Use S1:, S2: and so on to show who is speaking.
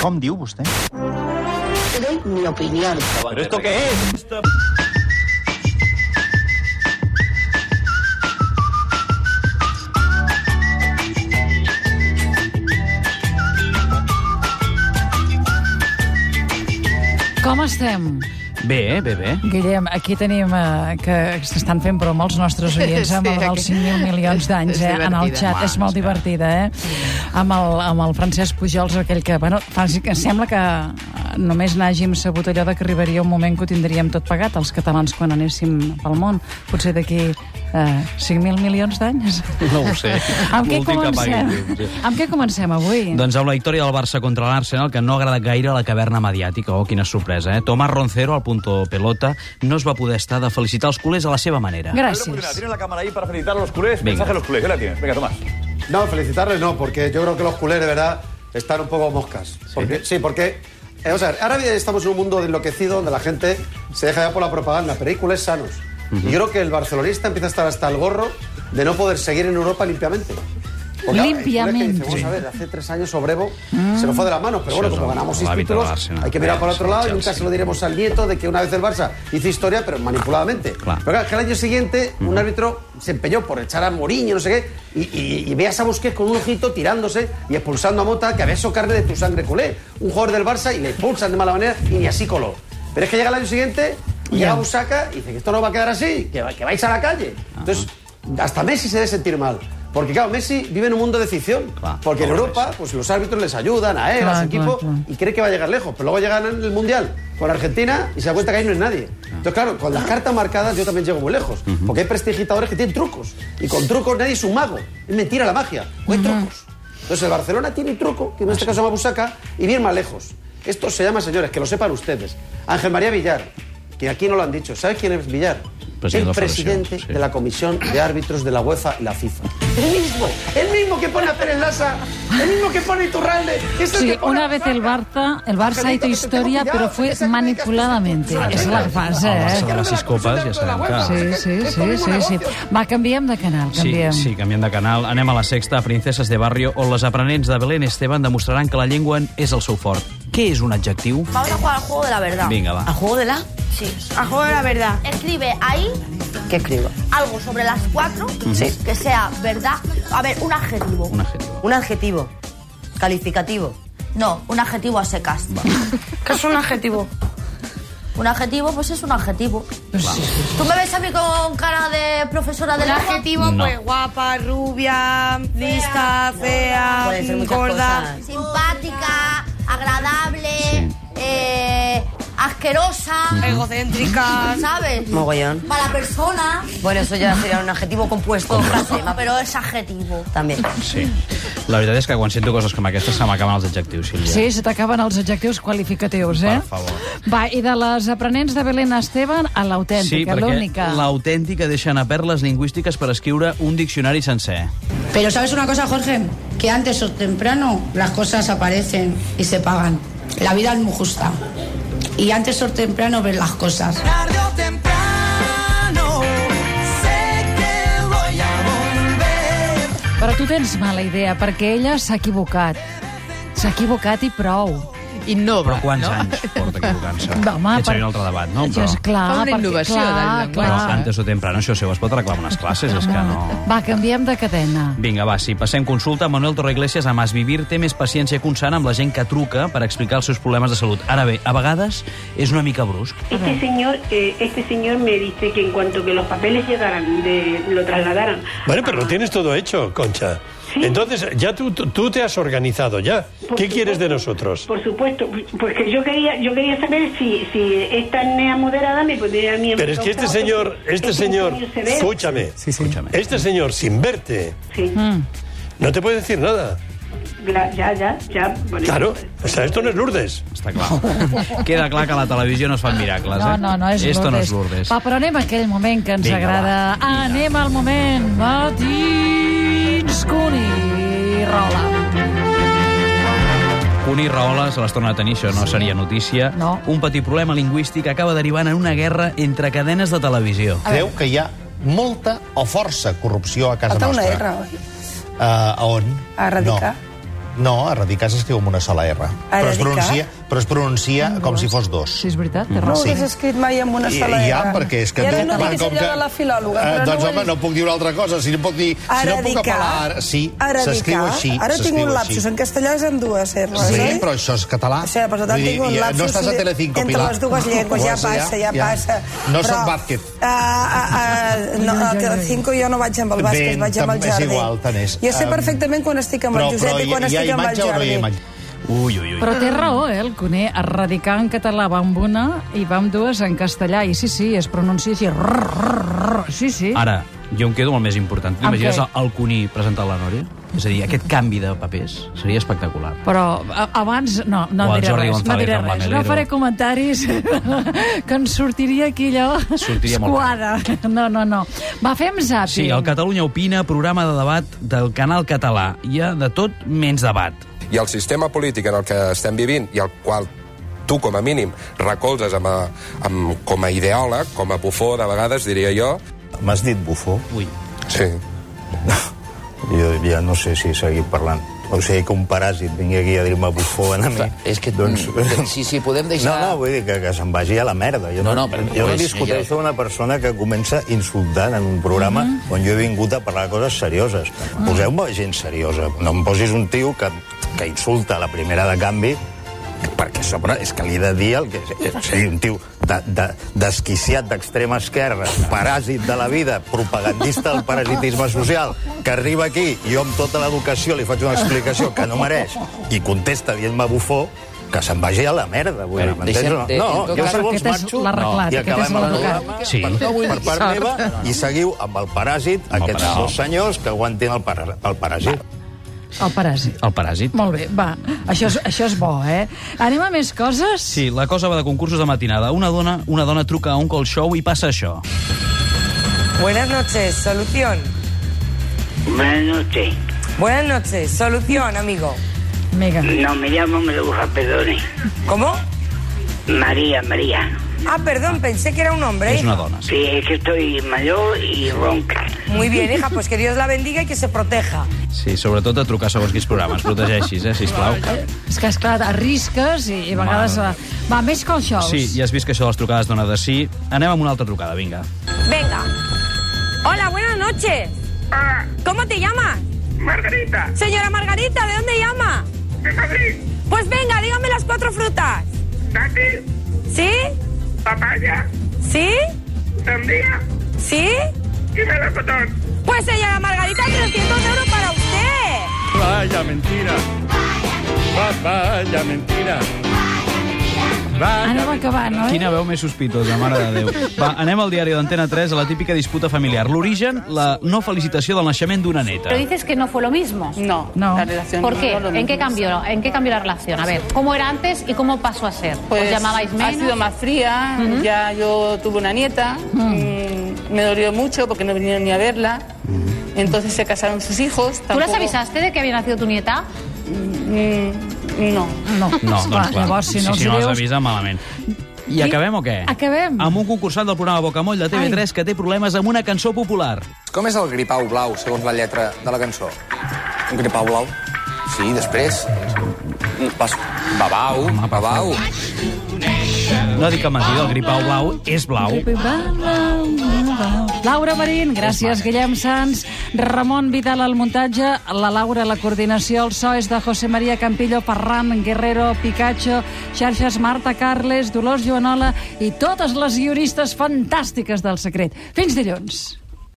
S1: Com diu vostè?
S2: Doy mi opinión.
S3: ¿Pero esto qué es?
S4: Com estem?
S3: Bé, bé, bé.
S4: Guillem, aquí tenim eh, que s'estan fent broma els nostres oients eh, amb
S5: Sí,
S4: el dels
S5: aquí.
S4: 5.000 milions d'anys
S5: És
S4: eh, en el
S5: divertida.
S4: xat. És molt divertida, eh? Amb el, amb el Francesc Pujols, aquell que, bueno, fa, que sembla que eh, només n'hàgim sabut allò de que arribaria un moment que ho tindríem tot pagat, els catalans, quan anéssim pel món. Potser d'aquí eh, 5.000 milions d'anys.
S3: No ho sé.
S4: Amb què,
S3: L'últim que pagui
S4: comencem?
S3: el temps, sí.
S4: amb què comencem avui?
S3: Doncs amb la victòria del Barça contra l'Arsenal, que no ha agradat gaire a la caverna mediàtica. Oh, quina sorpresa, eh? Tomás Roncero, al punto pelota, no es va poder estar de felicitar els culers a la seva manera.
S6: Mira,
S4: Gràcies.
S6: Tienes la cámara ahí para felicitar a los culés.
S3: Venga.
S6: Mensaje a los culés, ¿qué la tienes? Venga, Tomás.
S7: No, felicitarles no, porque yo creo que los culés, de verdad, están un poco moscas. Porque- sí, porque... eh, vamos a ver, ahora estamos en un mundo enloquecido donde la gente se deja ya por la propaganda, pero hay culés sanos. Y yo creo que el barcelonista empieza a estar hasta el gorro de no poder seguir en Europa limpiamente. Porque, claro, hay culés que
S4: Limpiamente.
S7: dicen, vamos a ver, hace tres años Obrevo se nos fue de las manos, pero
S3: Mm. Eso
S7: bueno,
S3: es
S7: como
S3: un
S7: ganamos seis
S3: hábito
S7: títulos,
S3: del Arsenal.
S7: hay que mirar para otro
S3: Chelsea,
S7: lado y nunca se lo
S3: Chelsea.
S7: diremos al nieto de que una vez el Barça hizo historia, pero manipuladamente.
S3: Claro.
S7: Pero claro, que al año siguiente un árbitro se empeñó por echar a Moriño, no sé qué, y, y- y veas a Busquets con un ojito tirándose y expulsando a Mota, que había eso carne de tu sangre culé. Un jugador del Barça y le expulsan de mala manera y ni así coló. Pero es que llega el año siguiente y llega Busaca y dice que esto no va a quedar así, que, va- que vais a la calle. Entonces, hasta Messi se debe sentir mal. Porque claro, Messi vive en un mundo de ficción.
S3: Claro,
S7: porque en
S3: pobre
S7: Europa, pues los árbitros les ayudan a él, a
S4: Claro,
S7: su
S4: claro,
S7: equipo,
S4: claro.
S7: y cree que va a llegar lejos, pero luego llegan en el Mundial con Argentina y se da cuenta que ahí no es nadie. Entonces, claro, con las cartas marcadas yo también llego muy lejos, porque hay prestigitadores que tienen trucos, y con trucos nadie es un mago, es mentira la magia, no hay trucos. Entonces, el Barcelona tiene un truco, que en
S3: Ah,
S7: este caso se llama Busaca, y bien más lejos. Esto se llama, señores, que lo sepan ustedes, Ángel María Villar, que aquí no lo han dicho, ¿sabes quién es Villar?
S3: Presidente de la
S7: el presidente
S3: Federación, sí.
S7: de la Comisión de Árbitros de la UEFA y la FIFA. El mismo, el mismo que pone a Pérez Lassa, el mismo que pone a Iturralde, es el
S4: Sí,
S7: que pone
S4: una
S7: a
S4: vez el
S7: Busaca.
S4: Barça, el Barça hizo
S7: Carlito, que te
S4: historia,
S7: tengo
S4: pero
S7: pillado,
S4: fue
S7: esa que me digas que
S4: manipuladamente.
S7: estás
S4: Es la que pasa,
S3: El Barça de
S4: eh?
S3: les sis copes, ja sabem que...
S4: Sí, sí, sí, sí, sí. Va, canviem de canal,
S3: Sí,
S4: canviem.
S3: sí, canviem de canal. Anem a la sexta, a Princeses de Barrio, on les aprenents de Belén Esteban demostraran que la llengua és el seu fort. Què és un adjectiu?
S8: Vamos a jugar al juego de la verdad.
S3: Vinga, va.
S5: juego de la...
S8: Sí.
S5: A juego de la verdad.
S8: Escribe ahí
S5: ¿Qué escribo?
S8: algo sobre las cuatro
S5: Sí.
S8: que sea verdad. A ver, un adjetivo.
S3: Un adjectiu.
S5: Un adjetivo. Calificativo.
S8: No, un adjetivo a secas.
S5: ¿Qué es un adjetivo?
S8: Un adjetivo, pues es un adjetivo.
S4: Però sí, sí.
S8: Tú me ves a mí con cara de profesora de
S5: Un
S8: lengua?
S5: adjetivo,
S3: No.
S5: pues guapa, rubia, lista, fea,
S9: Puede ser muchas
S5: gorda.
S9: cosas.
S8: Simpática, agradable, eh, asquerosa,
S5: Egocéntrica.
S8: ¿sabes?
S9: Mogollón.
S8: Mala persona.
S9: Bueno, eso ya sería un adjetivo compuesto o frase. ma-
S8: Pero es adjetivo.
S9: También.
S3: Sí. La veritat és que quan sento coses com aquestes se m'acaben els adjectius, Sílvia.
S4: Sí, se t'acaben els adjectius qualificatius, eh?
S3: Per favor.
S4: Va, i de les aprenents de Belén Esteban a
S3: Sí,
S4: l'autèntica, l'única.
S3: perquè l'autèntica deixa anar perles lingüístiques per escriure un diccionari sencer.
S10: Pero ¿sabes una cosa, Jorge? Que antes o temprano las cosas aparecen y se pagan. La vida es muy justa. Y antes o temprano ves las cosas.
S4: Però tu tens mala idea, perquè ella s'ha equivocat. S'ha equivocat i prou.
S3: Però
S11: Innova,
S3: quants
S11: no?
S3: anys porta equivocant-se?
S4: No, home,
S3: Aquest seria un altre debat, no?
S4: Això és clar,
S11: Fa una
S4: perquè-
S11: innovació
S4: clar,
S11: del
S3: Però
S11: llenguatge.
S4: clar.
S3: antes o temprano això seu es pot arreglar amb unes classes, és que no...
S4: Va, canviem de cadena.
S3: Vinga, va, si passem consulta, Manuel Torreiglesias a Mas Vivir té més paciència constant amb la gent que truca per explicar els seus problemes de salut. Ara bé, a vegades és una mica brusc.
S10: Este señor, este señor me dice que en cuanto que los papeles llegaran, de, lo trasladaran.
S12: Bueno, pero lo tienes todo hecho, Concha. Entonces, ya tú, tú- tú te has organizado, ya. ¿Qué quieres de nosotros?
S11: Pues
S10: Por supuesto, porque yo quería, yo quería saber si, si esta NEA moderada me podría a mí.
S12: Pero es que este señor, este señor, escúchame,
S3: Escúchame.
S12: este señor sin verte
S10: Sí,
S12: no te puede decir nada.
S10: ya, ya, ya. bueno,
S12: Claro, o sea, esto no es Lourdes.
S3: Està clar. Queda clar que a la televisió no es fan miracles, eh?
S4: No, no, no és
S3: Esto no
S4: Lourdes.
S3: és Lourdes.
S4: Va, però anem a aquell moment que ens
S3: Vinga,
S4: agrada.
S3: va, vinga.
S4: Anem al moment. Matins, Cuni, rola.
S3: Unir raoles a l'estona de tenir, això no seria notícia.
S4: No.
S3: Un petit problema lingüístic acaba derivant en una guerra entre cadenes de televisió.
S1: Creu que hi ha molta o força corrupció a casa nostra?
S10: R,
S1: Uh, a on?
S10: A erradicar.
S1: No. No, erradicar s'escriu amb una sola R. Però es
S11: Erradicar?
S1: pronuncia, però es pronuncia com si fos dos.
S4: Sí, és veritat, té
S11: No
S1: raó.
S11: ho
S1: Sí.
S11: has escrit mai amb una
S1: I-
S11: sola
S1: ja,
S11: R.
S1: perquè és que
S11: I ara
S1: tu-
S11: no
S1: va,
S11: diguis
S1: com
S11: allò
S1: que-
S11: de la filòloga,
S1: Eh,
S11: però
S1: doncs,
S11: no ho
S1: home,
S11: he
S1: no
S11: dit.
S1: puc dir una altra cosa. Si no puc dir... Si no puc apel·lar... Sí,
S11: Erradicar.
S1: s'escriu així.
S11: Ara tinc
S1: s'escriu
S11: un
S1: així.
S11: lapsus. En castellà és amb dues R,
S1: Sí,
S11: oi?
S1: però això és català.
S11: O sigui, per tant,
S1: Vull dir,
S11: tinc un
S1: ja-
S11: lapsus
S1: No estàs a
S11: de-
S1: Telecinco,
S11: entre
S1: Pilar.
S11: les dues llengües, ja
S1: Pues
S11: passa, ja passa.
S1: No
S11: Però-
S1: soc Vázquez.
S11: Ah, ah, ah, no, al Telecinco jo no vaig amb el bàsquet,
S1: Ben,
S11: vaig amb el
S1: tam- és
S11: jardí.
S1: igual, tant és.
S11: Jo sé
S1: Em,
S11: perfectament quan estic amb el
S1: però-
S11: Josep
S1: però
S11: i quan
S1: hi- hi ha
S11: estic amb el
S1: imatge o no hi ha
S11: jardí.
S1: imatge?
S3: Ui, ui, ui.
S4: Però té raó, eh, el Cuné. Erradicar en català va amb una i va amb dues en castellà. I sí, sí, es pronuncia així. Rrr, rrr, rrr. Sí, sí.
S3: Ara, jo em quedo amb el més important. Tu
S4: Amb
S3: t'imagines
S4: què?
S3: el Cuní presentant la Nòria? És a dir, aquest canvi de papers seria espectacular.
S4: Però a- abans no, no
S3: O el
S4: diré
S3: Jordi
S4: res, no
S3: González
S4: diré
S3: amb la
S4: res. No
S3: Melero.
S4: faré comentaris que en sortiria aquí allò
S3: Sortiria molt
S4: esquada. No, no, no. Va, fem
S3: Sí,
S4: zapping.
S3: el Catalunya Opina, programa de debat del Canal Català. Hi ha de tot menys debat.
S13: I el sistema polític en el que estem vivint i el qual tu, com a mínim, recolzes amb a, amb, com a ideòleg, com a bufó, de vegades, diria jo.
S14: M'has dit bufó?
S3: Ui.
S13: Sí.
S14: Jo ja no sé si seguir parlant. O sigui, que un paràsit vingui aquí a dir-me bufó a mi... És que... mm, Doncs...
S15: Si, si podem deixar...
S14: No, no, vull dir que, que se'n vagi a la merda. Jo
S15: No, no, però-
S14: jo no
S15: però és-
S14: discuteixo una persona que comença insultant en un programa
S15: Mhm.
S14: on jo he vingut a parlar de coses serioses.
S15: Ah.
S14: Poseu-me gent seriosa. No em posis un tio que, que insulta a la primera de canvi perquè a sobre és que li he de dir el que... O sigui, un tio de- de- desquiciat de, d'extrema esquerra, paràsit de la vida, propagandista del parasitisme social, que arriba aquí i jo amb tota l'educació li faig una explicació que no mereix i contesta dient-me bufó, que se'n vagi a la merda, vull dir,
S15: Bueno,
S14: m'entens? o
S15: deixem-
S14: No, no
S15: en tot
S14: jo
S15: cas-
S14: si vols
S15: Aquest és
S14: marxo
S15: l'arreglat,
S14: i
S15: aquest és
S14: acabem el
S15: l'arreglat.
S14: programa
S15: Sí.
S14: per,
S15: No vull
S14: per part
S15: sort.
S14: meva i seguiu amb el paràsit, aquests
S3: però-
S14: dos senyors que aguantin el, para, el paràsit.
S4: El paràsit.
S3: El paràsit.
S4: Molt bé, va. Això és, això és bo, eh? Anem a més coses?
S3: Sí, la cosa va de concursos de matinada. Una dona, una dona truca a un call show i passa això.
S5: Buenas noches, solución.
S16: Buenas noches.
S5: Buenas noches, solución, amigo.
S4: Mega.
S16: No, me llamo Meluja, perdone.
S5: ¿Cómo?
S16: María, María.
S5: Ah, perdón, pensé que era un hombre. hija.
S16: Sí, es que estoy mayor y ronca.
S5: Muy bien, hija, pues que Dios la bendiga y que se proteja.
S3: Sí, sobretot a trucar segons quins programes. Protegeixis, eh, sisplau.
S4: És que, esclar, arrisques i, i a vegades...
S3: Mare.
S4: eh, Va, més call shows.
S3: Sí, ja has vist que això de les trucades dona de sí. Anem amb una altra trucada, vinga.
S17: Venga. Hola, buenas noches. ¿Cómo te llamas? Margarita. Señora Margarita, ¿de dónde llama? De Madrid. Pues venga, dígame las cuatro frutas. Dátil. ¿Sí? Papaya. ¿Sí? Sandía. ¿Sí? Y melocotón. Pues señora Margarita, 300 euros para usted.
S18: Vaya mentira. Va- Vaya mentira.
S17: Ah,
S4: Anem acabant, oi?
S3: Quina veu més sospitosa, mare de Déu. Va, anem al diari d'Antena 3 a la típica disputa familiar. L'origen, la no felicitació del naixement d'una neta.
S19: Pero dices que no fue lo mismo. No,
S4: no.
S19: la relación
S20: ¿Por
S19: no
S20: qué?
S19: fue lo
S20: ¿En
S19: mismo.
S20: qué cambió? ¿En qué cambió la relación? A ver, ¿cómo era antes y cómo pasó a ser? ¿Os llamabais menos?
S19: Pues, Ha sido más fría,
S20: Ujú.
S19: ya yo tuve una nieta, mm, me dolió mucho porque no vinieron ni a verla, entonces se casaron sus hijos.
S20: ¿Tú las avisaste de que había nacido tu nieta?
S19: no.
S4: No,
S3: No, doncs clar.
S4: llavors, si no
S3: si
S4: els
S3: no els
S4: dius-
S3: avisa, malament. I
S4: I-
S3: acabem o què?
S4: Acabem.
S3: Amb un concursant del programa Bocamoll de TV3 que té problemes amb una cançó popular.
S15: Com és el gripau blau, segons la lletra de la cançó? Un gripau blau? Sí, després... Passo. Babau, babau.
S3: No dic que mentida, el gripau blau és blau.
S4: Laura Marín, gràcies, Guillem Sans, Ramon Vidal al muntatge, la Laura a la coordinació, el so és de José María Campillo, Ferran Guerrero, Picacho, xarxes Marta Carles, Dolors Joanola i totes les guionistes fantàstiques del secret. Fins dilluns.